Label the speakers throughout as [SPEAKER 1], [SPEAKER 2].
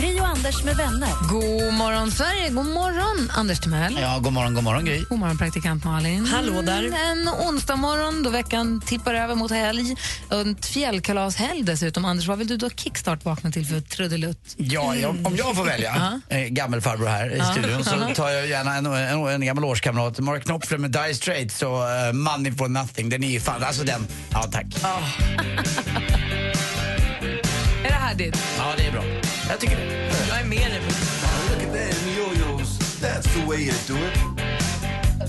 [SPEAKER 1] Gri och Anders med vänner.
[SPEAKER 2] God morgon, Sverige. God morgon, Anders Timell.
[SPEAKER 3] Ja, god morgon, god morgon Gry.
[SPEAKER 2] God morgon, praktikant Malin.
[SPEAKER 4] Hallå där.
[SPEAKER 2] En onsdag morgon då veckan tippar över mot helg. En fjällkalashelg dessutom. Anders, vad vill du då kickstart-vakna till för trudelutt?
[SPEAKER 3] Ja, jag, om jag får välja, eh, gammelfarbror här i studion, så tar jag gärna en, en, en gammal årskamrat, Mark Knopfler med Dire Straits och eh, Money for Nothing. Den är ju fan, alltså den, ja tack.
[SPEAKER 2] Är det här ditt?
[SPEAKER 3] Ja, det är bra. Jag tycker det.
[SPEAKER 4] Jag är med dig.
[SPEAKER 5] Look at them yo-yos, that's the way you do it.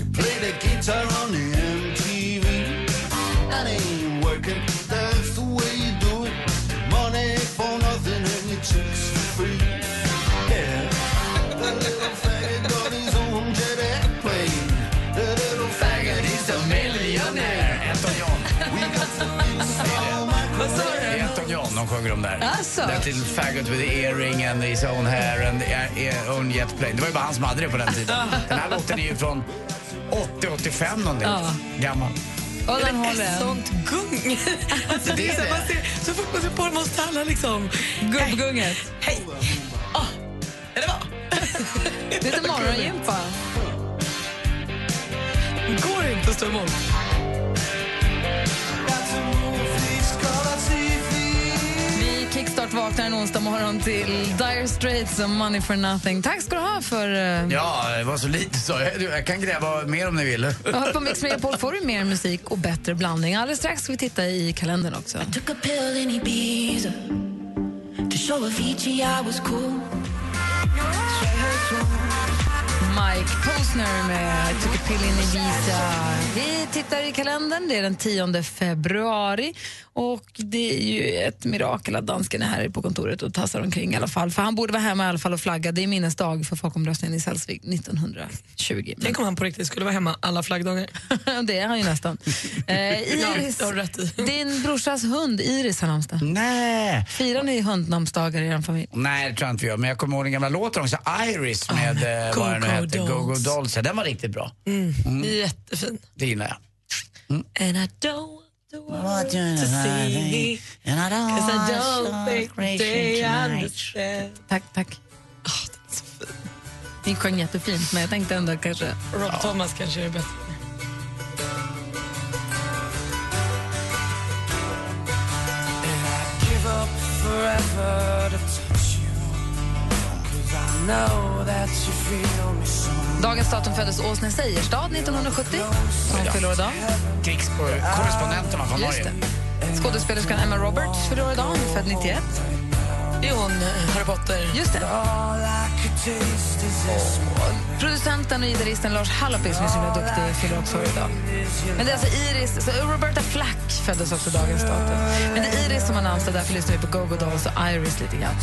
[SPEAKER 5] You play the guitar on the MTV. That ain't working, that's the way you do it. Money for nothing and your chicks for free. Yeah. The little faggot got his own jet airplane. The little faggot is a millionaire.
[SPEAKER 3] Elton John.
[SPEAKER 5] We got the install microphone.
[SPEAKER 3] Det är Elton John de sjunger om där.
[SPEAKER 2] Alltså.
[SPEAKER 3] That little faggot with the earring and his own hair and the- eh, own jet plane. Det var ju bara han som hade det på den tiden. Den här låten är ju från 80-85 någonting.
[SPEAKER 2] Ja.
[SPEAKER 3] Gammal.
[SPEAKER 2] Och den håller en.
[SPEAKER 4] Sånt gung. Alltså, det är så, här, man ser, så fort man ser på det måste alla liksom...
[SPEAKER 2] Gubbgunget.
[SPEAKER 4] Hej! Ah, är det bra?
[SPEAKER 2] Lite morgongympa.
[SPEAKER 4] Går inte att stå emot.
[SPEAKER 2] Vi kickstart-vaknar en onsdag morgon till Dire Straits och Money for Nothing. Tack ska du ha för... eh,
[SPEAKER 3] Ja, det var så lite så. Jag, jag kan gräva mer om ni vill.
[SPEAKER 2] Och här på Mix Megapol får du mer musik och bättre blandning. Alldeles strax ska vi titta i kalendern också.
[SPEAKER 6] Took a pill in Ibiza to show Avicii I was cool.
[SPEAKER 2] Mike Posner med I took a pill in Ibiza. Vi tittar i kalendern, det är den 10 februari och det är ju ett mirakel att dansken är här på kontoret och tassar omkring i alla fall. För han borde vara hemma i alla fall och flagga. Det är minnesdag för folkomröstningen i Salzvik 1920. Men
[SPEAKER 4] Tänk om han på riktigt skulle vara hemma alla flaggdagar.
[SPEAKER 2] det är han ju nästan. Eh, Iris,
[SPEAKER 4] det har du rätt i.
[SPEAKER 2] din brorsas hund Iris har namnsdag.
[SPEAKER 3] Nej.
[SPEAKER 2] Firar ni hundnamnsdagar i er familj?
[SPEAKER 3] Nej, det tror jag inte vi gör. Men jag kommer ihåg den gamla låten också, Iris med eh, vad den nu
[SPEAKER 4] Go-Go
[SPEAKER 3] hette, Go-Go
[SPEAKER 4] Dolls.
[SPEAKER 3] Dolls. Ja, Den var riktigt bra.
[SPEAKER 4] Mm. Jättefin.
[SPEAKER 3] Det gillar jag.
[SPEAKER 4] And I don't want the world to see Cause I don't think they understand
[SPEAKER 2] Tack, tack.
[SPEAKER 4] Ah, den är så fin.
[SPEAKER 2] Ni sjöng jättefint men jag tänkte ändå kanske
[SPEAKER 4] Rob Thomas kanske är bättre.
[SPEAKER 2] Dagens datum föddes Åsne Seierstad 1970. Hon fyller år idag.
[SPEAKER 3] Krigskorrespondenterna från
[SPEAKER 2] Just
[SPEAKER 3] Norge.
[SPEAKER 2] det. Skådespelerskan Emma Roberts fyller år idag. Hon är född 91.
[SPEAKER 4] Det är hon, eh, Harry Potter.
[SPEAKER 2] Just det. Producenten och gitarristen Lars Hallopis, som är så himla duktig, fyller också år idag. Men det är alltså Iris, så Roberta Flack föddes också dagens datum. Men det är Iris som har namnsdag, därför lyssnar vi på Go-Go Dolls och Iris lite grann.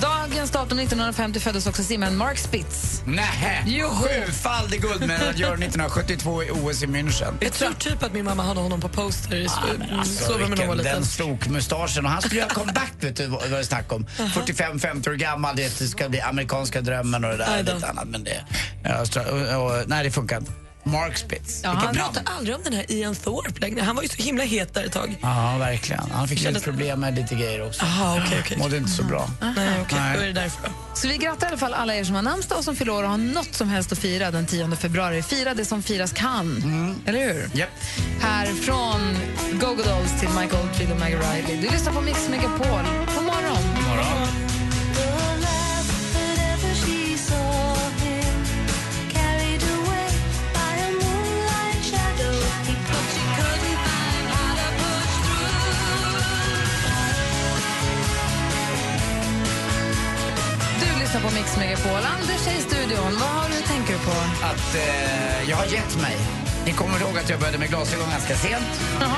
[SPEAKER 2] Dagens datum 1950 föddes också simmaren Mark Spitz.
[SPEAKER 3] Nej,
[SPEAKER 2] Joho.
[SPEAKER 3] sjufaldig guldmedaljör 1972 i OS i München.
[SPEAKER 4] Jag tror typ att min mamma hade honom på poster i
[SPEAKER 3] Alltså,
[SPEAKER 4] sovrummet när hon var
[SPEAKER 3] vilken,
[SPEAKER 4] liten.
[SPEAKER 3] den stokmustaschen. Och han skulle göra comeback, vet du, vad vad det snack om. 45-50 år gammal, det ska bli amerikanska drömmen och det där.
[SPEAKER 4] Aj då.
[SPEAKER 3] Lite annat, men det, ja, stra- och, och, nej, det funkar inte. Mark Spitz.
[SPEAKER 2] Ja,
[SPEAKER 3] Vilket
[SPEAKER 2] han-
[SPEAKER 3] namn.
[SPEAKER 4] pratar aldrig om den här Ian Thorpe längre. Han var ju så himla het där ett tag.
[SPEAKER 3] Ja, verkligen. Han fick
[SPEAKER 4] Kändes-
[SPEAKER 3] lite problem med lite grejer också.
[SPEAKER 4] Jaha,
[SPEAKER 7] Ah,
[SPEAKER 4] okej, okej.
[SPEAKER 3] Mådde inte så bra.
[SPEAKER 4] Nej, okej.
[SPEAKER 3] Nej.
[SPEAKER 4] Då är det därför då.
[SPEAKER 2] Så vi grattar i alla fall alla er som har namnsdag och som fyller år och har något som helst att fira den 10 februari. Fira det som firas kan, eller hur?
[SPEAKER 3] Japp.
[SPEAKER 2] Här från Go-Go Dolls till Mike Oldfield och Maggie Riley. Du lyssnar på Mix Megapol. God morgon!
[SPEAKER 3] Morgon.
[SPEAKER 2] Du lyssnar på Mix Megapol. Anders är i studion. Vad har du tänker du på?
[SPEAKER 3] Att eh, jag har gett mig. Ni kommer ihåg att jag började med glasögon ganska sent. Eh,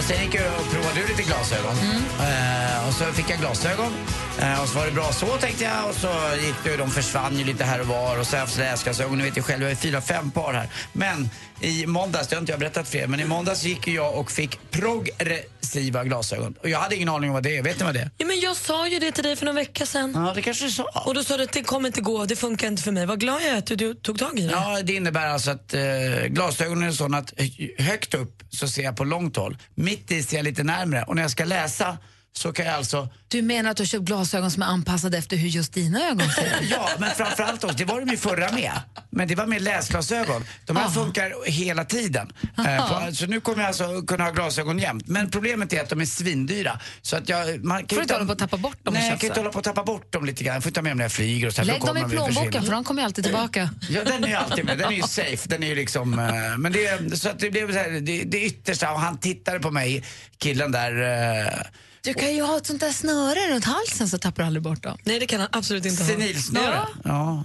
[SPEAKER 3] Sen gick jag och provade ut lite glasögon. Eh, och så fick jag glasögon. Eh, och så var det bra så tänkte jag. Och så gick det, ju- de försvann ju lite här och var. Och så har jag haft läsglasögon. Ni vet ju själv, jag har ju fyra, fem par här. Men i måndags, det har inte jag berättat för er, men i måndags gick ju jag och fick progressiva glasögon. Och jag hade ingen aning om vad det är. Vet ni vad det är?
[SPEAKER 7] Ja, men jag sa ju det till dig för någon vecka sedan.
[SPEAKER 3] Ja, det kanske du sa.
[SPEAKER 7] Och då sa du att det kommer inte gå, det funkar inte för mig. Vad glad jag är att du tog tag i det.
[SPEAKER 3] Ja, det innebär alltså att eh, glasögonen är sådana att hö- högt upp så ser jag på långt håll. Mitt i ser jag lite närmre och när jag ska läsa så kan jag alltså
[SPEAKER 2] Du menar att du har köpt glasögon som är anpassade efter hur just dina ögon ser ut?
[SPEAKER 3] Ja, men framförallt också, det var de ju förra med. Men det var med läsglasögon. De
[SPEAKER 2] Ah.
[SPEAKER 3] här funkar hela tiden. Eh, på, så nu kommer jag alltså kunna ha glasögon jämt. Men problemet är att de är svindyra. Så att jag, man kan
[SPEAKER 2] du inte hålla på att tappa bort dem och
[SPEAKER 3] Nej, jag
[SPEAKER 2] köpa
[SPEAKER 3] kan inte
[SPEAKER 2] så?
[SPEAKER 3] hålla på att tappa bort dem lite grann. Jag får ta med dem när jag flyger och så här, för
[SPEAKER 2] Lägg
[SPEAKER 3] då
[SPEAKER 2] dem i
[SPEAKER 3] kommer de ju försvinna.
[SPEAKER 2] plånboken för de kommer ju alltid tillbaka.
[SPEAKER 3] Ja, den är ju alltid med. Den är ju safe. Den är ju liksom... eh, men det, så att det blev så här, det, det yttersta. Och han tittade på mig, killen där. eh,
[SPEAKER 2] Du kan ju ha ett sånt där snöre runt halsen så tappar du aldrig bort dem.
[SPEAKER 7] Nej, det kan han absolut inte
[SPEAKER 3] senilsnöre.
[SPEAKER 7] ha. Ja.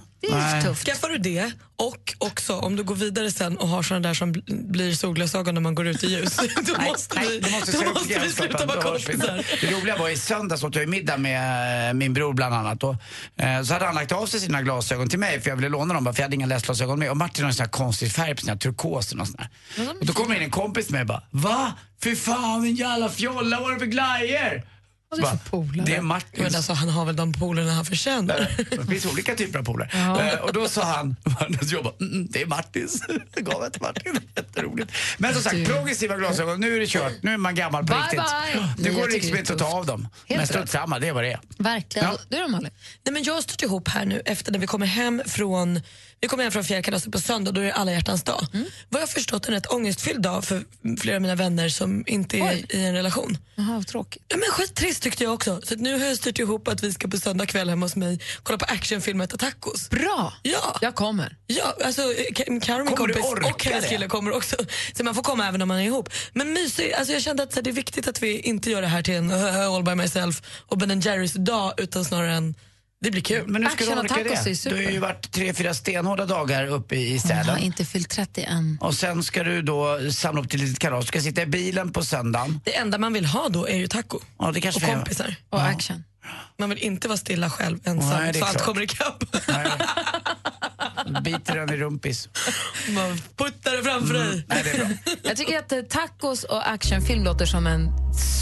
[SPEAKER 3] Ja.
[SPEAKER 2] Det är
[SPEAKER 3] nej.
[SPEAKER 2] ju tufft.
[SPEAKER 7] Skaffar du det och också om du går vidare sen och har såna där som bl- blir solglasögon när man går ut i ljus. Då måste vi,
[SPEAKER 3] Du måste,
[SPEAKER 7] då
[SPEAKER 3] säga upp
[SPEAKER 7] måste vi
[SPEAKER 3] gränsen,
[SPEAKER 7] sluta
[SPEAKER 3] för
[SPEAKER 7] vara
[SPEAKER 3] då hörs vi inte.
[SPEAKER 7] kompisar.
[SPEAKER 3] Det roliga var i söndags åt jag ju middag med eh, min bror bland annat. Och, eh, så hade han lagt av sig sina glasögon till mig för jag ville låna dem bara, för jag hade inga läsglasögon med. Och Martin har en sån här konstig färg på sina turkoser och sån här. Och då kommer in en kompis med mig och bara Va? Fy fan din jävla fjolla, vad är det för glajjor?
[SPEAKER 2] Vad är det för
[SPEAKER 3] Bara,
[SPEAKER 2] polare?
[SPEAKER 3] Det är
[SPEAKER 7] Men
[SPEAKER 3] Martins
[SPEAKER 7] alltså, han har väl de polerna han förtjänar.
[SPEAKER 3] det finns olika typer av polare. Eh, och då sa han, jag bara, mm, mm, det är Martins. Det gav jag till Martin. Jätteroligt. Men som sagt, progressiva glasögon, nu är det kört. Nu är man gammal på
[SPEAKER 2] Bye,
[SPEAKER 3] riktigt.
[SPEAKER 2] bye.
[SPEAKER 3] Det
[SPEAKER 2] Nej, jag
[SPEAKER 3] går
[SPEAKER 2] tycker
[SPEAKER 3] liksom
[SPEAKER 2] det är
[SPEAKER 3] inte att ta
[SPEAKER 2] tufft.
[SPEAKER 3] av dem.
[SPEAKER 2] Helt
[SPEAKER 3] Men
[SPEAKER 2] rätt.
[SPEAKER 3] strunt samma, det är vad det är.
[SPEAKER 2] Verkligen.
[SPEAKER 3] Ja.
[SPEAKER 2] Du då Malin?
[SPEAKER 7] Nej, men jag har stött ihop här nu efter när vi kommer hem från vi kommer hem från fjällkalaset på söndag då är det alla hjärtans dag. Vad jag har förstått en rätt ångestfylld dag för flera av mina vänner som inte är
[SPEAKER 2] Oj.
[SPEAKER 7] i en relation.
[SPEAKER 2] Jaha, vad tråkigt.
[SPEAKER 7] Ja, men skittrist tyckte jag också. Så att nu har jag styrt ihop att vi ska på söndag kväll hemma hos mig kolla på actionfilmen Äta tacos.
[SPEAKER 2] Bra!
[SPEAKER 7] Ja.
[SPEAKER 2] Jag kommer.
[SPEAKER 7] Ja, alltså Ka- Karo min
[SPEAKER 3] Kommer du
[SPEAKER 7] kompis
[SPEAKER 3] orka
[SPEAKER 7] och hennes
[SPEAKER 3] det?
[SPEAKER 7] kille kommer också. Så man får komma även om man är ihop. Men mysig, alltså jag kände att så här, det är viktigt att vi inte gör det här till en "Haha, all by myself och Ben Jerrys dag utan snarare en det blir kul.
[SPEAKER 3] Men hur ska du
[SPEAKER 2] Action och
[SPEAKER 3] orka
[SPEAKER 2] tacos är
[SPEAKER 3] det? Du
[SPEAKER 2] super.
[SPEAKER 3] har ju varit tre, fyra stenhårda dagar uppe i
[SPEAKER 2] Jag har
[SPEAKER 3] Sälen.
[SPEAKER 2] inte fyllt 30 än.
[SPEAKER 3] Och sen ska du då samla upp till ett litet kalas. Du ska sitta i bilen på söndagen.
[SPEAKER 7] Det enda man vill ha då är ju taco
[SPEAKER 3] Ja, det kanske
[SPEAKER 7] och
[SPEAKER 3] vi gör.
[SPEAKER 7] kompisar.
[SPEAKER 2] Och action.
[SPEAKER 7] Man vill inte vara stilla själv ensam
[SPEAKER 3] Nej, det är
[SPEAKER 7] så allt
[SPEAKER 3] klart.
[SPEAKER 7] kommer ikapp.
[SPEAKER 3] Nej. Biter den i rumpis.
[SPEAKER 7] Man puttar det framför dig.
[SPEAKER 3] Nej, det är bra.
[SPEAKER 2] Jag tycker att eh, tacos och actionfilm låter som en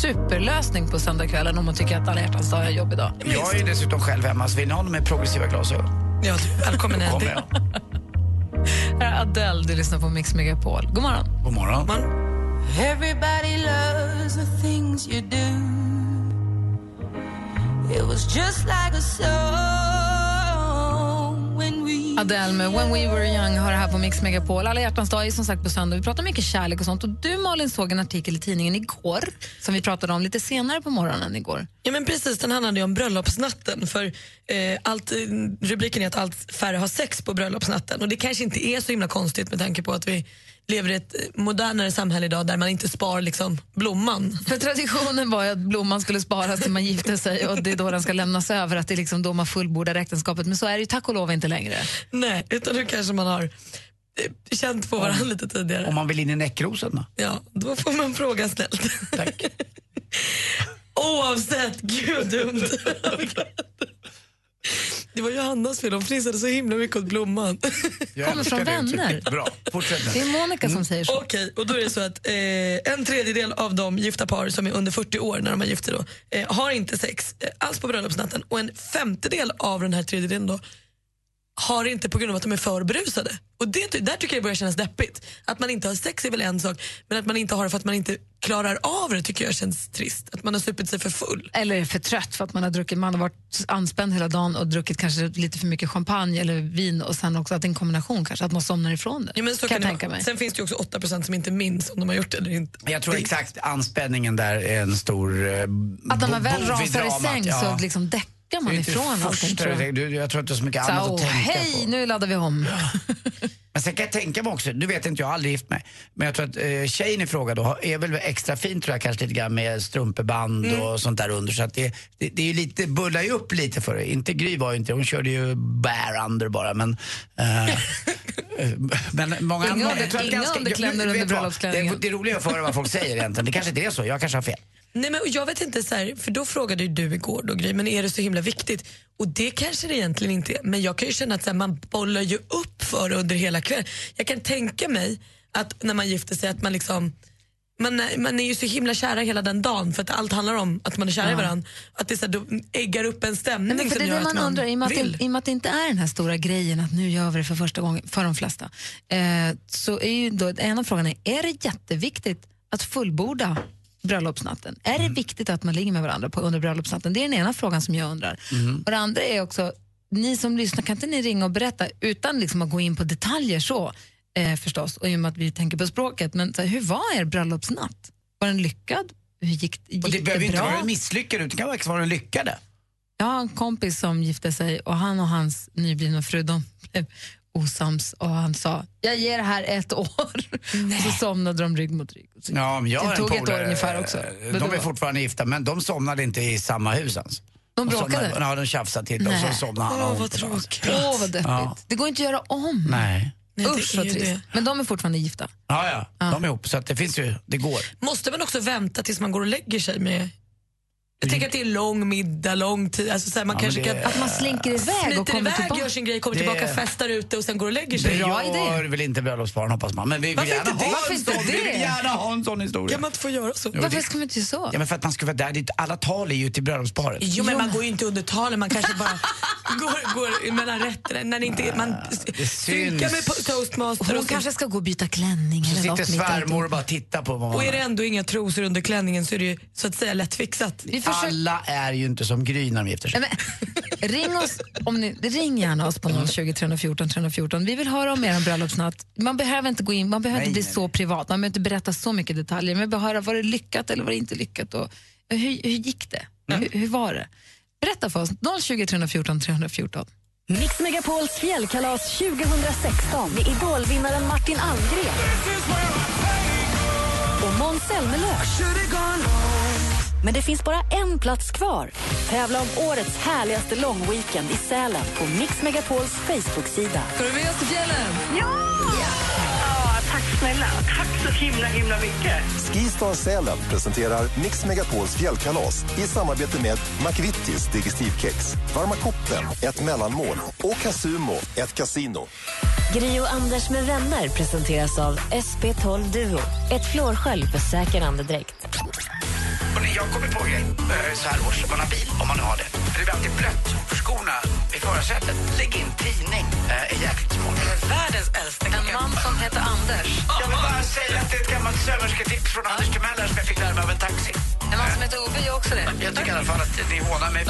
[SPEAKER 2] superlösning på söndagskvällen om man tycker att alla hjärtans dag är en jobbig dag.
[SPEAKER 3] Jag är ju dessutom själv hemma, så vill ni ha någon med progressiva glasögon?
[SPEAKER 7] Ja, du, välkommen hem.
[SPEAKER 3] kommer jag.
[SPEAKER 2] Här är Adele, du lyssnar på Mix Megapol. God morgon.
[SPEAKER 3] God morgon.
[SPEAKER 6] Everybody loves the things you do. It was just like a song when we.
[SPEAKER 2] Adele med When We Were Young har det här på Mix Megapol. Alla hjärtans dag är som sagt på söndag. Vi pratar mycket kärlek och sånt. Och du Malin såg en artikel i tidningen igår som vi pratade om lite senare på morgonen igår.
[SPEAKER 7] Ja men precis, den handlade ju om bröllopsnatten för eh, allt, eh, rubriken är att allt färre har sex på bröllopsnatten och det kanske inte är så himla konstigt med tanke på att vi lever i ett eh, modernare samhälle idag där man inte spar liksom blomman.
[SPEAKER 2] För traditionen var ju att blomman skulle sparas när man gifte sig och det är då den ska lämnas över, att det är liksom då man fullbordar äktenskapet. Men så är det ju tack och lov inte längre.
[SPEAKER 7] Nej, utan nu kanske man har eh, känt på varandra lite tidigare.
[SPEAKER 3] Om man vill in i näckrosen då?
[SPEAKER 7] Ja, då får man fråga snällt.
[SPEAKER 3] Tack.
[SPEAKER 7] Oavsett, gud dumt. Det var Johannas fel, de fnissade så himla mycket åt blomman.
[SPEAKER 3] Jag
[SPEAKER 2] Kommer från
[SPEAKER 3] älskar det
[SPEAKER 2] vänner.
[SPEAKER 3] uttrycket. Bra, fortsätt
[SPEAKER 2] Det
[SPEAKER 3] nu.
[SPEAKER 2] är Monica som säger så.
[SPEAKER 7] Okej, och då är det så att eh, en tredjedel av de gifta par som är under 40 år när de är gifta då, eh, har inte sex eh, alls på bröllopsnatten och en femtedel av den här tredjedelen då har inte på grund av att de är för berusade. Och det, ty- där tycker jag det börjar kännas deppigt. Att man inte har sex är väl en sak, men att man inte har det för att man inte klarar av det tycker jag känns trist. Att man har supit sig för full.
[SPEAKER 2] Eller är för trött för att man har druckit, man har varit anspänd hela dagen och druckit kanske lite för mycket champagne eller vin och sen också att det är en kombination kanske, att man somnar ifrån det.
[SPEAKER 7] Ja, men så
[SPEAKER 2] kan jag
[SPEAKER 7] det
[SPEAKER 2] tänka
[SPEAKER 7] vara.
[SPEAKER 2] mig.
[SPEAKER 7] Sen finns det ju också 8% som inte minns om de har gjort det eller inte.
[SPEAKER 3] Jag tror exakt anspänningen där är en stor eh,
[SPEAKER 2] Att när man
[SPEAKER 3] bo-
[SPEAKER 2] väl
[SPEAKER 3] bov i
[SPEAKER 2] rasar i
[SPEAKER 3] dramat,
[SPEAKER 2] säng
[SPEAKER 3] ja.
[SPEAKER 2] så liksom däckar
[SPEAKER 3] Det är
[SPEAKER 2] man
[SPEAKER 3] ju inte
[SPEAKER 2] ifrån
[SPEAKER 3] det
[SPEAKER 2] allting.
[SPEAKER 3] första
[SPEAKER 2] Tror jag.
[SPEAKER 3] du- du- jag tror att det är så mycket
[SPEAKER 2] Så,
[SPEAKER 3] annat
[SPEAKER 2] åh,
[SPEAKER 3] att tänka
[SPEAKER 2] hej,
[SPEAKER 3] på.
[SPEAKER 2] nu laddar vi om.
[SPEAKER 3] Men sen kan jag tänka mig också, du vet inte, jag har aldrig gift mig. Men jag tror att eh, tjejen i fråga då har- är väl extra fin tror jag kanske lite grann med strumpeband
[SPEAKER 2] Mm.
[SPEAKER 3] och sånt där under. Så att det, det, det är ju lite, bullar ju upp lite för det. Inte Gry var ju inte, hon körde ju bare under bara men. Eh, Men många
[SPEAKER 2] Inga
[SPEAKER 3] många-
[SPEAKER 2] under-
[SPEAKER 3] jag tror att
[SPEAKER 2] inga
[SPEAKER 3] ganska-
[SPEAKER 2] underkläder
[SPEAKER 3] jag- vet
[SPEAKER 2] under
[SPEAKER 3] vad?
[SPEAKER 2] bröllopsklänningen.
[SPEAKER 3] Det är roligare att få höra vad folk säger egentligen. Det kanske inte är så, jag kanske har fel.
[SPEAKER 7] Nej, men jag vet inte, så här, för då frågade ju du igår då, Gry, men är det så himla viktigt? Och det kanske det egentligen inte är, men jag kan ju känna att så här, man bollar ju upp för det under hela kvällen. Jag kan tänka mig att när man gifter sig att man liksom man, är- man är ju så himla kära hela den dagen för att allt handlar om att man är kär i
[SPEAKER 2] Ja.
[SPEAKER 7] varandra. Att det så här, då eggar upp en stämning
[SPEAKER 2] Nej, men för det
[SPEAKER 7] som
[SPEAKER 2] är
[SPEAKER 7] gör
[SPEAKER 2] det man,
[SPEAKER 7] att man
[SPEAKER 2] undrar, i och, med att
[SPEAKER 7] vill.
[SPEAKER 2] det, i och med att det inte är den här stora grejen att nu gör vi det för första gången, för de flesta, eh, så är ju då, en av frågorna är, är det jätteviktigt att fullborda bröllopsnatten? Är
[SPEAKER 3] Mm.
[SPEAKER 2] det viktigt att man ligger med varandra på, under bröllopsnatten? Det är den ena frågan som jag undrar.
[SPEAKER 3] Mm.
[SPEAKER 2] Och det andra är också, ni som lyssnar, kan inte ni ringa och berätta utan liksom att gå in på detaljer så eh, förstås, och i och med att vi tänker på språket, men så här, hur var er bröllopsnatt? Var den lyckad? Hur gick, gick
[SPEAKER 3] Och det behöver ju inte
[SPEAKER 2] bra?
[SPEAKER 3] vara misslyckade, utan det kan faktiskt vara den lyckade.
[SPEAKER 2] Jag har en kompis som gifte sig och han och hans nyblivna fru de blev osams och han sa jag ger det här ett år. Och så somnade de rygg mot rygg. Så
[SPEAKER 3] Ja, men jag
[SPEAKER 2] det
[SPEAKER 3] har en
[SPEAKER 2] tog ett år
[SPEAKER 3] polare,
[SPEAKER 2] ungefär också.
[SPEAKER 3] eh,
[SPEAKER 2] Men
[SPEAKER 3] De
[SPEAKER 2] då-
[SPEAKER 3] är fortfarande gifta, men de somnade inte i samma hus ens.
[SPEAKER 2] De bråkade?
[SPEAKER 3] somnade, ja, de tjafsade till och
[SPEAKER 2] Nej.
[SPEAKER 3] så somnade han. och
[SPEAKER 7] Åh, vad
[SPEAKER 3] hon på dagen.
[SPEAKER 7] tråkigt.
[SPEAKER 2] Åh, vad deppigt.
[SPEAKER 3] Ja.
[SPEAKER 2] Det går inte att göra om.
[SPEAKER 3] Nej.
[SPEAKER 7] Nej, det
[SPEAKER 2] Usch,
[SPEAKER 7] är
[SPEAKER 2] vad
[SPEAKER 7] ju
[SPEAKER 2] trist.
[SPEAKER 7] det.
[SPEAKER 2] Men de är fortfarande gifta.
[SPEAKER 3] Ja, ja, de är ihop, så att det finns ju, det går.
[SPEAKER 7] Måste man också vänta tills man går och lägger sig med... Jag tänker att det är lång middag, lång tid. Alltså, så här, man
[SPEAKER 3] Ja,
[SPEAKER 7] kanske
[SPEAKER 3] men det-
[SPEAKER 7] kan...
[SPEAKER 2] Att man slinker iväg och
[SPEAKER 7] Smiter
[SPEAKER 2] kommer
[SPEAKER 7] iväg,
[SPEAKER 2] tillbaka.
[SPEAKER 7] gör sin grej, kommer
[SPEAKER 3] Det-
[SPEAKER 7] tillbaka, festar ute och sen går och lägger sig.
[SPEAKER 3] Det
[SPEAKER 2] Bra
[SPEAKER 3] gör
[SPEAKER 2] idé.
[SPEAKER 3] väl inte bröllopsparen hoppas man, men vi vill
[SPEAKER 7] Varför
[SPEAKER 3] gärna
[SPEAKER 7] inte det?
[SPEAKER 3] ha
[SPEAKER 7] Varför
[SPEAKER 3] en
[SPEAKER 2] inte
[SPEAKER 3] sån, vi
[SPEAKER 2] det?
[SPEAKER 3] vill gärna ha en sån historia.
[SPEAKER 7] Kan man inte få göra så?
[SPEAKER 2] Varför ska man inte göra så?
[SPEAKER 3] Ja, men för att man ska vara där, dit, alla tal är ju till bröllopsparet.
[SPEAKER 7] Jo, men man går ju inte under talen, man kanske bara går, går mellan rätterna. När det inte, är- man synkar
[SPEAKER 3] syns.
[SPEAKER 7] med po- toastmaster
[SPEAKER 2] Hon
[SPEAKER 7] och,
[SPEAKER 2] kanske ska gå och byta klänning
[SPEAKER 3] Så
[SPEAKER 2] eller
[SPEAKER 3] sitter
[SPEAKER 2] något. mitt i
[SPEAKER 3] svärmor och
[SPEAKER 2] alltihop.
[SPEAKER 3] bara tittar på vad man
[SPEAKER 7] och är det ändå inga trosor under klänningen så är det ju så att säga lätt fixat.
[SPEAKER 2] Vi försöker...
[SPEAKER 3] Alla är ju inte som Gry när de gifter sig.
[SPEAKER 2] Nej, men, ring, oss, om ni, ring gärna oss
[SPEAKER 3] Mm.
[SPEAKER 2] på 020 314 314. Vi vill höra om er bröllopsnatt. Man behöver inte gå in, man behöver
[SPEAKER 3] Nej,
[SPEAKER 2] inte bli
[SPEAKER 3] nej,
[SPEAKER 2] så privat, man behöver inte berätta så mycket detaljer. Man behöver höra, var det lyckat eller var det inte lyckat? Och, eh, hur, hur gick det?
[SPEAKER 3] Mm.
[SPEAKER 2] Hur, hur var det? Berätta för oss, 020 314 314.
[SPEAKER 1] Mix Megapols fjällkalas 2016 med idolvinnaren Martin Almgren. Och Måns Zelmerlöw. Men det finns bara en plats kvar. Tävla om årets härligaste långweekend i Sälen på Mix Megapols Facebook-sida.
[SPEAKER 2] Ska du med oss till fjällen?
[SPEAKER 8] Skistar Sälen presenterar Mix Megapols fjällkalas i samarbete med McVittys Digestivkex, Varma koppen, ett mellanmål och Casumo, ett kasino.
[SPEAKER 1] Gri och Anders med vänner presenteras av SP12 Duo. Ett flårskölj för säker andedräkt.
[SPEAKER 3] Hörrni, jag kommer på en grej eh, så här års, om man har bil, om man nu har det. För det blir alltid blött för skorna i förarsätet. Lägg in tidning, eh, är jäkligt smart.
[SPEAKER 2] Världens äldsta En man som heter Anders.
[SPEAKER 3] Jag vill bara säga att det är ett gammalt sömmersketips från Anders Timell som jag fick lära mig av en taxi.
[SPEAKER 2] En man som heter Ove gör också det.
[SPEAKER 3] Jag tycker i alla fall att ni hånar mig.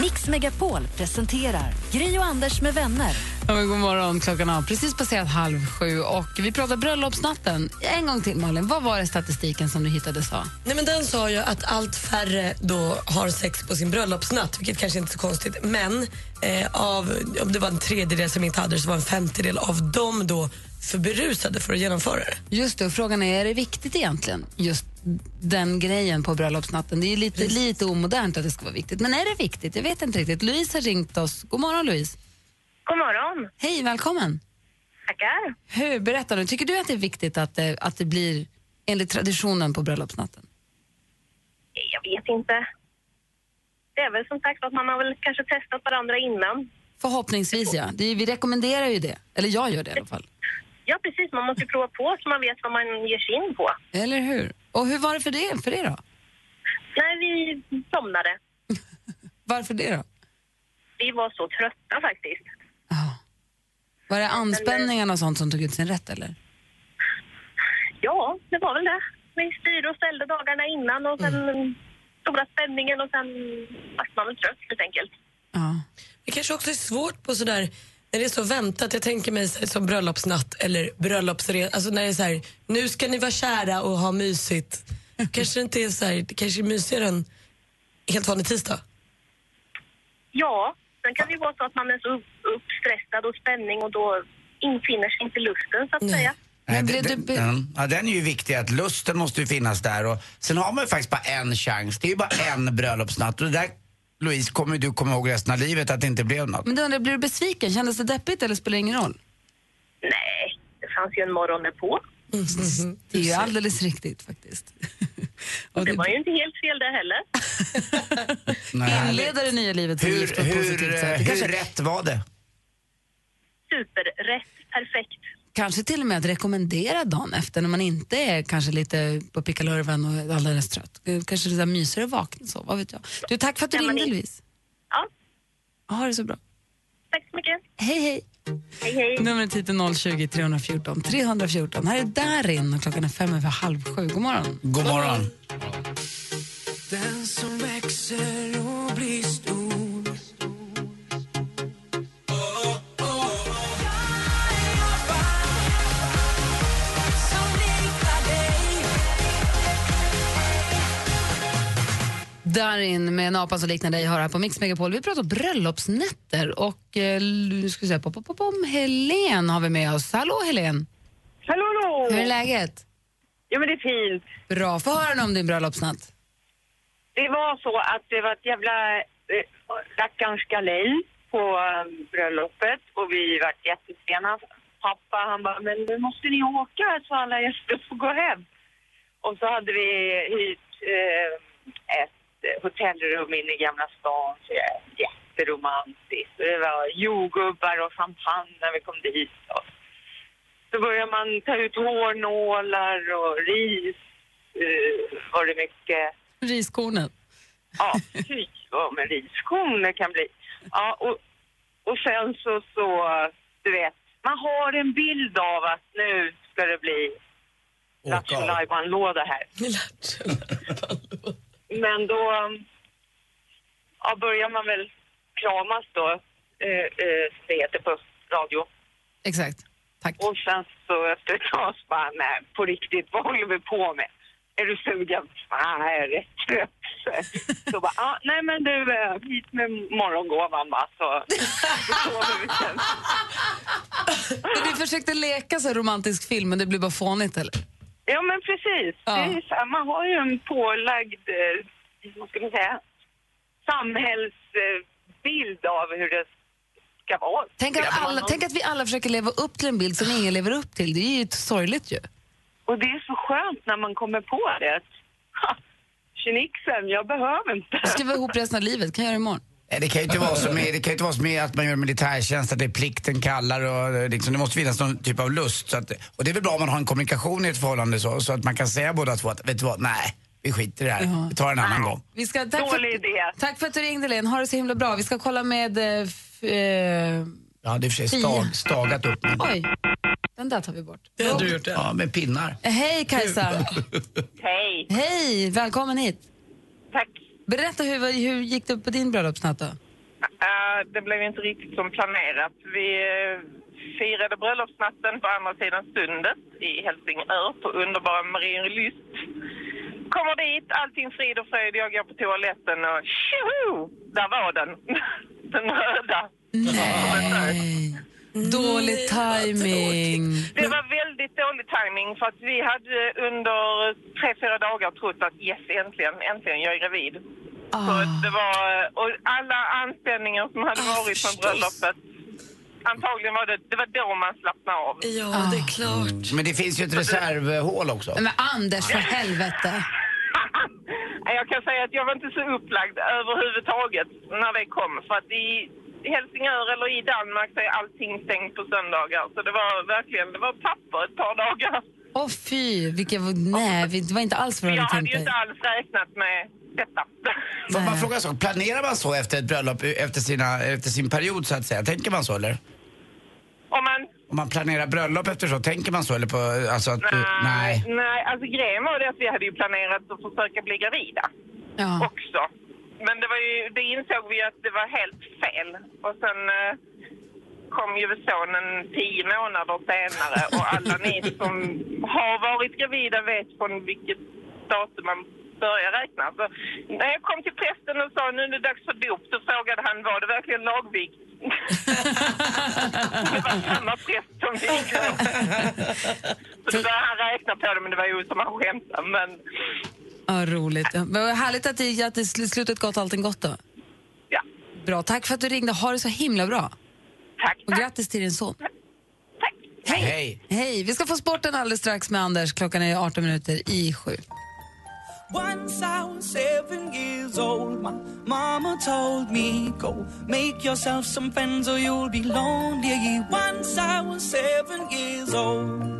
[SPEAKER 1] Mix Megapol presenterar Gri och Anders med vänner.
[SPEAKER 2] Ja, men god morgon, klockan har precis passerat halv sju och vi pratar bröllopsnatten. En gång till Malin, vad var det statistiken som du hittade sa?
[SPEAKER 7] Nej, men den sa ju att allt färre då har sex på sin bröllopsnatt, vilket kanske inte är så konstigt. Men eh, av, om det var en tredjedel som inte hade det så var en femtedel av dem då för berusade för att genomföra det.
[SPEAKER 2] Just det, och frågan är, är det viktigt egentligen? Just den grejen på bröllopsnatten. Det är ju lite, lite omodernt att det ska vara viktigt. Men är det viktigt? Jag vet inte riktigt. Louise har ringt oss. God morgon Louise.
[SPEAKER 9] God morgon.
[SPEAKER 2] Hej, välkommen.
[SPEAKER 9] Tackar.
[SPEAKER 2] Hur, berätta nu, tycker du att det är viktigt att det, att det blir enligt traditionen på bröllopsnatten?
[SPEAKER 9] Jag vet inte. Det är väl som sagt att man har väl kanske testat varandra innan.
[SPEAKER 2] Förhoppningsvis ja. Det, vi rekommenderar ju det. Eller jag gör det i alla fall.
[SPEAKER 9] Ja, precis. Man måste ju prova på så man vet vad man ger sig in på.
[SPEAKER 2] Eller hur? Och hur var det för, det, för er då?
[SPEAKER 9] Nej, vi somnade.
[SPEAKER 2] Varför det då?
[SPEAKER 9] Vi var så trötta faktiskt.
[SPEAKER 2] Ja. Var det anspänningarna och sånt som tog ut sin rätt eller?
[SPEAKER 9] Ja, det var väl det. Vi styrde och ställde dagarna innan och sen stora spänningen och sen vart man väl trött helt enkelt.
[SPEAKER 2] Ja.
[SPEAKER 7] Det kanske också är svårt på sådär, när det är så väntat, jag tänker mig så här, som bröllopsnatt eller bröllopsresa, alltså när det är så här, nu ska ni vara kära och ha mysigt. Kanske det inte är så här, det kanske är mysigare än helt vanlig tisdag.
[SPEAKER 9] Ja, sen kan det ju vara så att man är så upp- uppstressad och spänning och då infinner sig inte lusten så att säga.
[SPEAKER 2] Men
[SPEAKER 3] den,
[SPEAKER 2] blev du be-
[SPEAKER 3] den, ja, den är ju viktig, att lusten måste ju finnas där. Och sen har man ju faktiskt bara en chans. Det är ju bara en bröllopsnatt. Och det där Louise, kommer du komma ihåg resten av livet att det inte blev något?
[SPEAKER 2] Men du undrar, blir du besviken? Kändes det deppigt eller spelar det ingen roll?
[SPEAKER 7] Nej, det fanns ju en morgon därpå.
[SPEAKER 2] Det är ju alldeles riktigt faktiskt.
[SPEAKER 7] Och det var ju inte helt fel det heller.
[SPEAKER 2] Inleda det nya livet som gift på
[SPEAKER 3] Hur,
[SPEAKER 2] ett
[SPEAKER 3] hur,
[SPEAKER 2] positivt
[SPEAKER 3] eh,
[SPEAKER 2] sätt. Det
[SPEAKER 3] hur
[SPEAKER 2] kanske-
[SPEAKER 3] rätt var det?
[SPEAKER 7] Superrätt, perfekt.
[SPEAKER 2] Kanske till och med att rekommendera dagen efter när man inte är kanske lite på pickalurven och alldeles trött. Kanske lite mysigare att vakna så, vad vet jag. Du, tack för att du ringde Louise. Ja. Ha det så bra.
[SPEAKER 7] Tack så mycket.
[SPEAKER 2] Hej, hej.
[SPEAKER 7] Hej, hej.
[SPEAKER 2] Numret hit är 020 314 314. Här är Darin och klockan är fem över halv sju. God morgon.
[SPEAKER 3] God morgon.
[SPEAKER 10] Den som växer och blir stor
[SPEAKER 2] Darin med en apa som liknar dig hör här på Mix Megapol. Vi pratar om bröllopsnätter och eh, nu ska vi säga, pop, pop, pop, om Helen har vi med oss. Hallå Helen!
[SPEAKER 7] Hallå, hallå!
[SPEAKER 2] Hur är läget?
[SPEAKER 7] Jo, men det är fint.
[SPEAKER 2] Bra, få höra nu om din bröllopsnatt.
[SPEAKER 7] Det var så att det var ett jävla eh, rackarns galej på eh, bröllopet och vi var jättesena. Hans Pappa han bara, men nu måste ni åka så alla gäster får gå hem. Och så hade vi hyrt eh, ett hotellrum inne i Gamla stan. Så det var jätteromantiskt. Och det var jordgubbar och champagne när vi kom dit. Och så började man ta ut hårnålar och ris eh, var det mycket.
[SPEAKER 2] Riskornen.
[SPEAKER 7] Ja, fy vad med riskorn det kan bli. Ja, och, och sen så, så, du vet, man har en bild av att nu ska det bli Lattjo Lajban-låda här. Men då um, ja, börjar man väl kramas då, eh, eh, som det heter på radio.
[SPEAKER 2] Exakt.
[SPEAKER 7] Och sen så efter ett tag så bara, nej, på riktigt, vad håller vi på med? Är du sugen? Fan, jag är rätt trött. Så- Så bara, ah, nej men du, eh, hit med morgongåvan bara, så sover vi sen.
[SPEAKER 2] Men Du försökte leka så här romantisk film men det blev bara fånigt eller?
[SPEAKER 7] Ja men precis, det är så här, man har ju en pålagd, eh, vad ska man säga, samhällsbild av hur det ska vara.
[SPEAKER 2] Tänk
[SPEAKER 7] Ska
[SPEAKER 2] att,
[SPEAKER 7] vara
[SPEAKER 2] alla,
[SPEAKER 7] någon-
[SPEAKER 2] tänk att vi alla försöker leva upp till en bild som ingen lever upp till. Det är ju ett sorgligt ju.
[SPEAKER 7] Och det är så skönt när man kommer på det. Ha, Tjenixen, jag behöver inte.
[SPEAKER 2] Ska vi vara ihop resten av livet? Kan jag göra det imorgon?
[SPEAKER 3] Nej, Eh, Det kan ju inte vara som med, det kan ju inte vara som med att man gör militärtjänst, att det är plikten kallar och eh, liksom, det måste finnas någon typ av lust. Så att, och det är väl bra om man har en kommunikation i ett förhållande så, så att man kan säga båda två att vet du vad, nej, vi skiter i det här, vi tar en annan gång.
[SPEAKER 2] Vi ska, tack, för, tack för att du ringde Len. Ha det så himla bra. Vi ska kolla med... eh, f- Eh,
[SPEAKER 3] Jag hade i och för sig
[SPEAKER 2] Fia.
[SPEAKER 3] stag, stagat upp mig.
[SPEAKER 2] oj, den där tar vi bort.
[SPEAKER 3] Det har du gjort Ja, med pinnar.
[SPEAKER 2] Eh, Hej Kajsa!
[SPEAKER 7] Hej!
[SPEAKER 2] Hej, välkommen hit.
[SPEAKER 7] Tack.
[SPEAKER 2] Berätta, hur, var- hur gick det på din bröllopsnatt då?
[SPEAKER 7] Eh, det blev inte riktigt som planerat. Vi eh, firade bröllopsnatten på andra sidan sundet i Helsingör på underbara Marienlyst. Kommer dit, allting frid och fröjd. Jag går på toaletten och tjoho! Där var den. den röda.
[SPEAKER 2] Nej. Dålig timing.
[SPEAKER 7] Det var väldigt dålig timing för att vi hade under tre, fyra dagar trott att yes, äntligen, äntligen, jag är gravid. Så det var, och alla anställningar som hade varit från bröllopet, antagligen var det, det var då man slappnade av.
[SPEAKER 11] Ja, det är klart.
[SPEAKER 3] Mm. Men det finns ju ett reservhål också.
[SPEAKER 2] Men Anders, för helvete.
[SPEAKER 7] Nej, Jag kan säga att jag var inte så upplagd överhuvudtaget när det kom. För att i Helsingör eller i Danmark så är allting stängt på söndagar. Så det var verkligen, det var papper ett par dagar.
[SPEAKER 2] Åh fy, vilka, nej, vi- det var inte alls vad du
[SPEAKER 7] Jag
[SPEAKER 2] hade
[SPEAKER 7] hade
[SPEAKER 2] tänkt
[SPEAKER 7] ju
[SPEAKER 2] dig.
[SPEAKER 7] inte alls räknat med detta.
[SPEAKER 3] Får man fråga så, planerar man så efter ett bröllop, efter, sina, efter sin period så att säga? Tänker man så eller?
[SPEAKER 7] Om man
[SPEAKER 3] Om man planerar bröllop efter så, tänker man så eller på, alltså att, du-
[SPEAKER 7] Nej.
[SPEAKER 3] nej.
[SPEAKER 7] Nej, alltså grejen var det att vi hade ju planerat att försöka bli gravida också. Men det, var ju, det insåg vi ju att det var helt fel. Och sen eh, kom ju sonen tio månader senare och alla ni som har varit gravida vet från vilket datum man börjar räkna. Så, när jag kom till prästen och sa nu är det dags för dop, så frågade han var det verkligen lagvikt? det var samma präst som vigde så det började han räkna på det, men det var ju som han skämtade. Men
[SPEAKER 2] Ja, roligt. Men vad härligt att det, att det sl- slutet gott allting gott då. Bra, tack för att du ringde. Ha det så himla bra.
[SPEAKER 9] Tack.
[SPEAKER 2] Och grattis till din son. Hej.
[SPEAKER 3] Hej.
[SPEAKER 2] Hej! Vi ska få sporten alldeles strax med Anders. Klockan är 18 minuter i sju.
[SPEAKER 12] Once I was seven years old, my mama told me, Go make yourself some friends or you'll be lonely. Once I was seven years old.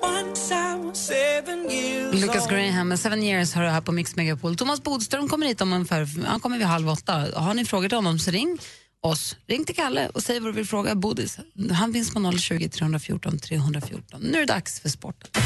[SPEAKER 12] Once I was seven years
[SPEAKER 2] Lucas
[SPEAKER 12] old.
[SPEAKER 2] Graham med Seven Years har du här på Mix Megapol. Thomas Bodström kommer hit om ungefär, han kommer vid halv åtta. Har ni frågor till honom så ring oss. Ring till Kalle och säg vad du vill fråga Bodis. Han finns på 020 314 314. Nu är det dags för sporten.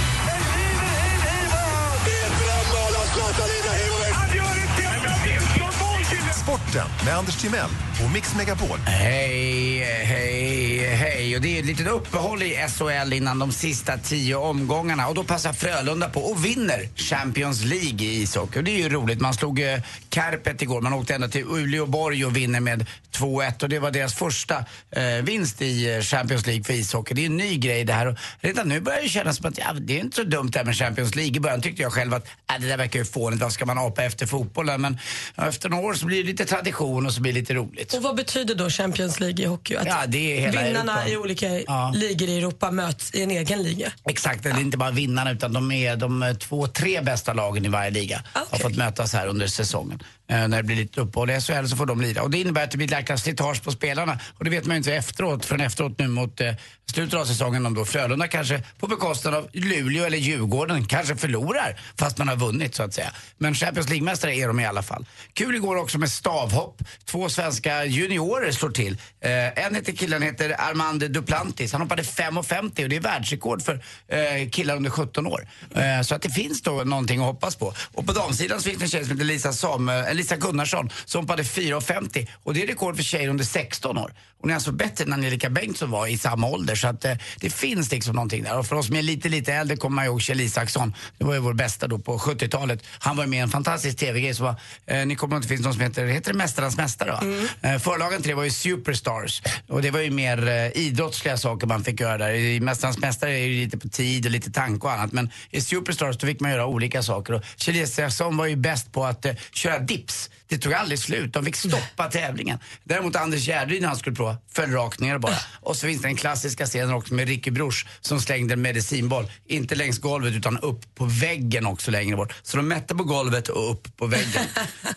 [SPEAKER 8] Sporten med Anders Timell och Mix Megapol.
[SPEAKER 3] Hej, hej, hej. Och det är ett litet uppehåll i SHL innan de sista tio omgångarna. Och då passar Frölunda på och vinner Champions League i ishockey. Och det är ju roligt. Man slog eh, Kärpet igår. Man åkte ända till Uleåborg och vinner med 2-1. Och det var deras första eh, vinst i eh, Champions League för ishockey. Det är en ny grej det här. Och redan nu börjar det kännas som att ja, det är inte så dumt det här med Champions League. I början tyckte jag själv att äh, det där verkar ju fånigt. Vad ska man apa efter fotbollen? Men ja, efter några år så blir det lite tradition och så blir det lite roligt.
[SPEAKER 7] Och vad betyder då Champions League i hockey? Att
[SPEAKER 3] Ja, det är hela
[SPEAKER 7] vinnarna
[SPEAKER 3] Europa.
[SPEAKER 7] i olika ligor i Europa möts i en egen liga.
[SPEAKER 3] Exakt, det är inte bara vinnarna utan de är de eh, två, tre bästa lagen i varje liga har fått mötas här under säsongen. Eh, när det blir lite uppehåll i SHL så får de lira. Och det innebär att det blir ett jäkla slitage på spelarna. Och det vet man ju inte efteråt, förrän efteråt nu mot eh, slutet av säsongen om då Frölunda kanske på bekostnad av Luleå eller Djurgården kanske förlorar fast man har vunnit så att säga. Men Champions League-mästare är de i alla fall. Kul igår också med stavhopp. Två svenska juniorer slår till. Eh, en heter killen heter Armand Duplantis. Han hoppade 5,50 och det är världsrekord för eh, killar under 17 år. Eh, så att det finns då någonting att hoppas på. Och på damsidan så finns det en tjej som heter Lisa, Sam, eh, Lisa Gunnarsson som hoppade 4,50 och det är rekord för tjejer under 16 år. Hon är alltså bättre än Angelica Bengtsson var i samma ålder så att eh, det finns liksom någonting där. Och för oss som är lite, lite äldre kommer man ihåg Kjell Isaksson. Det var ju vår bästa då på 70-talet. Han var ju med i en fantastisk tv-grej som var, eh, ni kommer ihåg att det finns någon som heter, heter det Mästarnas Mästare va? Eh, förlagen till det var ju Superstars och det var ju mer eh, idrottsliga saker man fick göra där. I Mästarnas Mästare är det ju lite på tid och lite tanke och annat men i Superstars då fick man göra olika saker och Kjell Isaksson var ju bäst på att eh, köra dips. Det tog aldrig slut, de fick stoppa tävlingen. Däremot Anders Gärdryd när han skulle prova föll rakt ner bara. Och så finns den klassiska scenen också med Ricky Bruch som slängde en medicinboll, inte längs golvet utan upp på väggen också längre bort. Så de mätte på golvet och upp på väggen.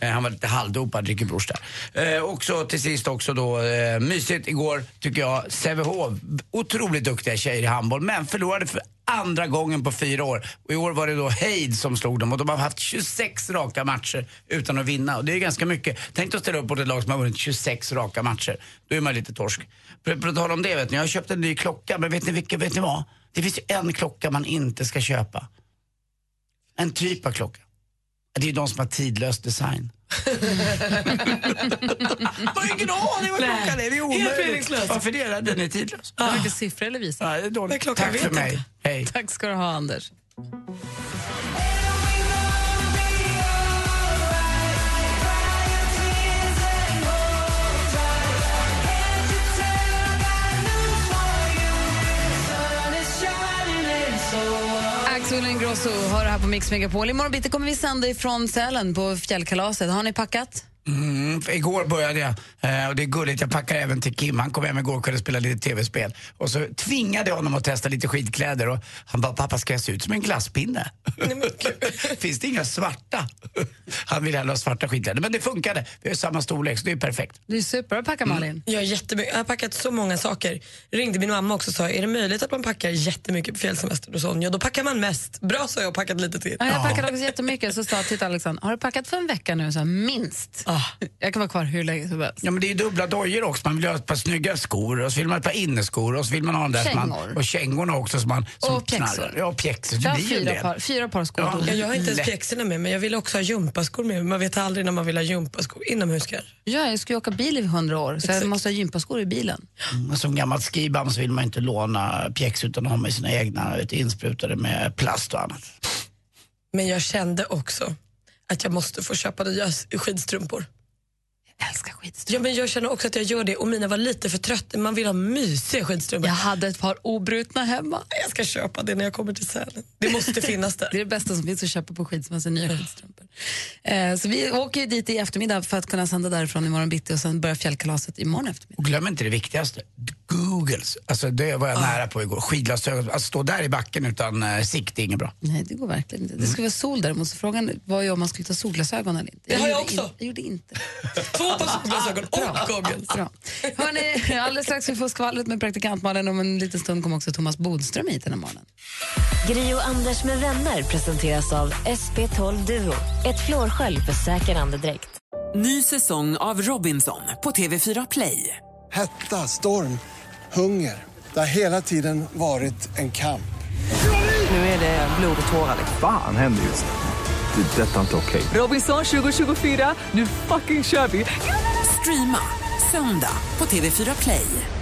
[SPEAKER 3] Eh, han var lite halvdopad, Ricky Bruch där. Eh, och så till sist också då, eh, mysigt igår tycker jag, Sävehof, otroligt duktiga tjejer i handboll men förlorade för andra gången på fyra år. Och I år var det då Heid som slog dem och de har haft 26 raka matcher utan att vinna. Och det är ganska mycket. Tänk dig att ställa upp mot ett lag som har vunnit 26 raka matcher. Då är man lite torsk. På, på tal om det, vet ni, jag har köpt en ny klocka, men vet ni vilken, vet ni vad? Det finns ju en klocka man inte ska köpa. En typ av klocka. Det är ju de som har tidlös design. Jag har ingen aning vad
[SPEAKER 2] Nej.
[SPEAKER 3] klockan är, det är
[SPEAKER 2] Helt
[SPEAKER 3] omöjligt.
[SPEAKER 2] meningslöst.
[SPEAKER 3] Varför det? Den är tidlös.
[SPEAKER 2] Har du inte siffror eller visat?
[SPEAKER 3] Nej, det är dåligt. Tack för mig. Hej.
[SPEAKER 2] Tack ska du ha, Anders. Axel Ingrosso har det här på Mix Megapol. Imorgon bitti kommer vi sända ifrån Sälen på fjällkalaset. Har ni packat?
[SPEAKER 3] Mm, för igår började jag eh, och det är gulligt, jag packar även till Kim. Han kom hem igår och kunde spela lite tv-spel. Och så tvingade jag honom att testa lite skidkläder och han bara, pappa ska jag se ut som en glasspinne? Finns det inga svarta? Han ville hellre ha svarta skidkläder, men det funkade. Vi har samma storlek så det är perfekt.
[SPEAKER 2] Du är super. Har du packat, Malin?
[SPEAKER 7] Mm. Jag, är jättemy- jag har packat så många saker. Ringde min mamma också och sa, är det möjligt att man packar jättemycket på fjällsemester hos Sonja? Då packar man mest. Bra sa jag och packat lite till.
[SPEAKER 2] Ja, jag packade också jättemycket. Så sa jag till Alexander, har du packat för en vecka nu? Så här, minst.
[SPEAKER 7] Ah.
[SPEAKER 2] Jag kan vara kvar hur länge som helst.
[SPEAKER 3] Ja men det är ju dubbla dojor också. Man vill ha ett par snygga skor och så vill man ha ett par inneskor och så vill man ha den där som man,
[SPEAKER 2] Kängor.
[SPEAKER 3] och kängorna också som man som
[SPEAKER 2] Och pjäxor.
[SPEAKER 3] knarrar. Ja, pjäxor.
[SPEAKER 2] Jag
[SPEAKER 3] Det
[SPEAKER 2] har
[SPEAKER 3] blir ju en
[SPEAKER 2] fyra
[SPEAKER 3] del.
[SPEAKER 2] par, fyra par skor.
[SPEAKER 3] Ja.
[SPEAKER 7] Ja, jag har inte ens
[SPEAKER 3] Lätt.
[SPEAKER 7] pjäxorna med mig. Jag ville också ha gympaskor med mig. Man vet aldrig när man vill ha gympaskor inomhus kanske.
[SPEAKER 2] Ja, jag ska ju åka bil i hundra år, så jag måste ha gympaskor i bilen.
[SPEAKER 3] Mm, som gammalt skibam så vill man inte låna pjäxor utan ha med sina egna vet, insprutade med plast och annat.
[SPEAKER 7] Men jag kände också att jag måste få köpa nya s- skidstrumpor.
[SPEAKER 2] älskar skidstrumpor.
[SPEAKER 7] Ja, men jag känner också att jag gör det och mina var lite för trötta. Man vill ha mysiga skidstrumpor.
[SPEAKER 2] Jag hade ett par obrutna hemma.
[SPEAKER 7] Jag ska köpa det när jag kommer till Sälen. Det måste finnas där.
[SPEAKER 2] det är det bästa som finns att köpa på skidsemester, nya skidstrumpor. Eh, så vi åker ju dit i eftermiddag för att kunna sända därifrån imorgon bitti och sen börjar fjällkalaset imorgon eftermiddag.
[SPEAKER 3] Och glöm inte det viktigaste, Googles. Alltså det
[SPEAKER 7] Ah.
[SPEAKER 3] var jag nära på igår. Skidglasögon, att stå där i backen utan eh, sikt, det är inget bra.
[SPEAKER 2] Nej, det går verkligen inte. Det ska vara sol däremot, så frågan var ju om man skulle ta solglasögon eller inte.
[SPEAKER 7] Det har jag
[SPEAKER 2] gjorde
[SPEAKER 7] också.
[SPEAKER 2] In, jag gjorde inte. Ah,
[SPEAKER 7] Två par solglasögon
[SPEAKER 3] Ah,
[SPEAKER 7] och goggles.
[SPEAKER 2] Bra. Hörrni, alldeles strax vi får skvallret med praktikant Malin. Om en liten stund kommer också Thomas Bodström hit den här morgonen.
[SPEAKER 1] Gri och Anders med vänner presenteras av SP12 Duo. Ett flårskölj för säker andedräkt.
[SPEAKER 13] Ny säsong av Robinson på TV4 Play.
[SPEAKER 14] Hetta, storm, hunger. Det har hela tiden varit en kamp.
[SPEAKER 13] Nu är det blod och tårar.
[SPEAKER 15] Fan händer just nu. Det är detta inte okej.
[SPEAKER 13] Robinson 2024, nu fucking kör vi! Streama söndag på TV4 Play.